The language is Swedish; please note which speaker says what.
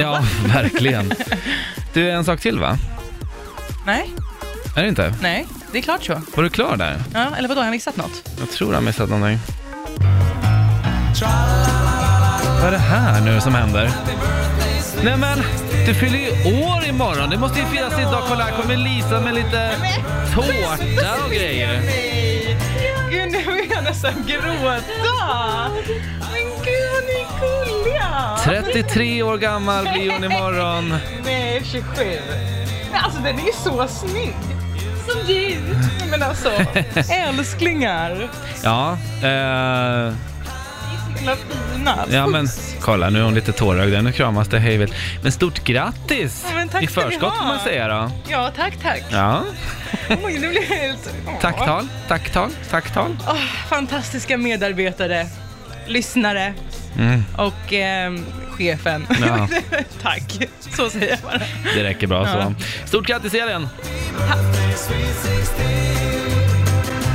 Speaker 1: Ja, verkligen. Du, en sak till va?
Speaker 2: Nej,
Speaker 1: Är det inte?
Speaker 2: nej, det är klart så.
Speaker 1: Var du klar där?
Speaker 2: Ja, eller vadå, har jag missat något?
Speaker 1: Jag tror jag har missat någonting. Vad är det här nu som händer? Nej men, du fyller ju år imorgon. Det måste ju firas idag. Kolla, här kommer Lisa med lite tårta och grejer.
Speaker 2: Gud, nu vill jag nästan gråta! Men gud, vad ni är gulliga!
Speaker 1: 33 år gammal blir hon imorgon.
Speaker 2: Nej, 27. Men alltså, den är ju så snygg! Som du! Men alltså, älsklingar!
Speaker 1: Ja, eh,
Speaker 2: Så himla fina.
Speaker 1: ja men kolla nu är hon lite tårögd. Nu kramas det hej vilt. Men stort grattis!
Speaker 2: Ja, men tack
Speaker 1: I
Speaker 2: ska ni
Speaker 1: förskott
Speaker 2: ha.
Speaker 1: får man säga då.
Speaker 2: Ja, tack, tack.
Speaker 1: Ja,
Speaker 2: Oj, nu blir jag helt... Åh.
Speaker 1: tacktal, tacktal, tacktal.
Speaker 2: Åh, fantastiska medarbetare, lyssnare
Speaker 1: Mm,
Speaker 2: och ehm, chefen.
Speaker 1: Ja.
Speaker 2: Tack, så säger jag bara.
Speaker 1: det räcker bra
Speaker 2: Ja.
Speaker 1: så. Stort grattis Elin!
Speaker 3: Sweet 16.